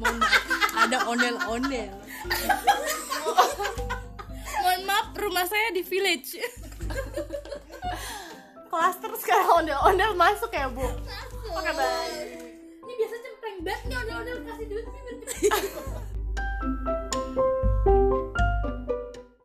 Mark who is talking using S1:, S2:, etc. S1: mohon maaf ada onel onel
S2: mohon maaf rumah saya di village
S3: Klaster sekarang ondel-ondel masuk ya, Bu? Oke, baik.
S2: ini biasa cempreng banget nih ondel-ondel kasih duit nih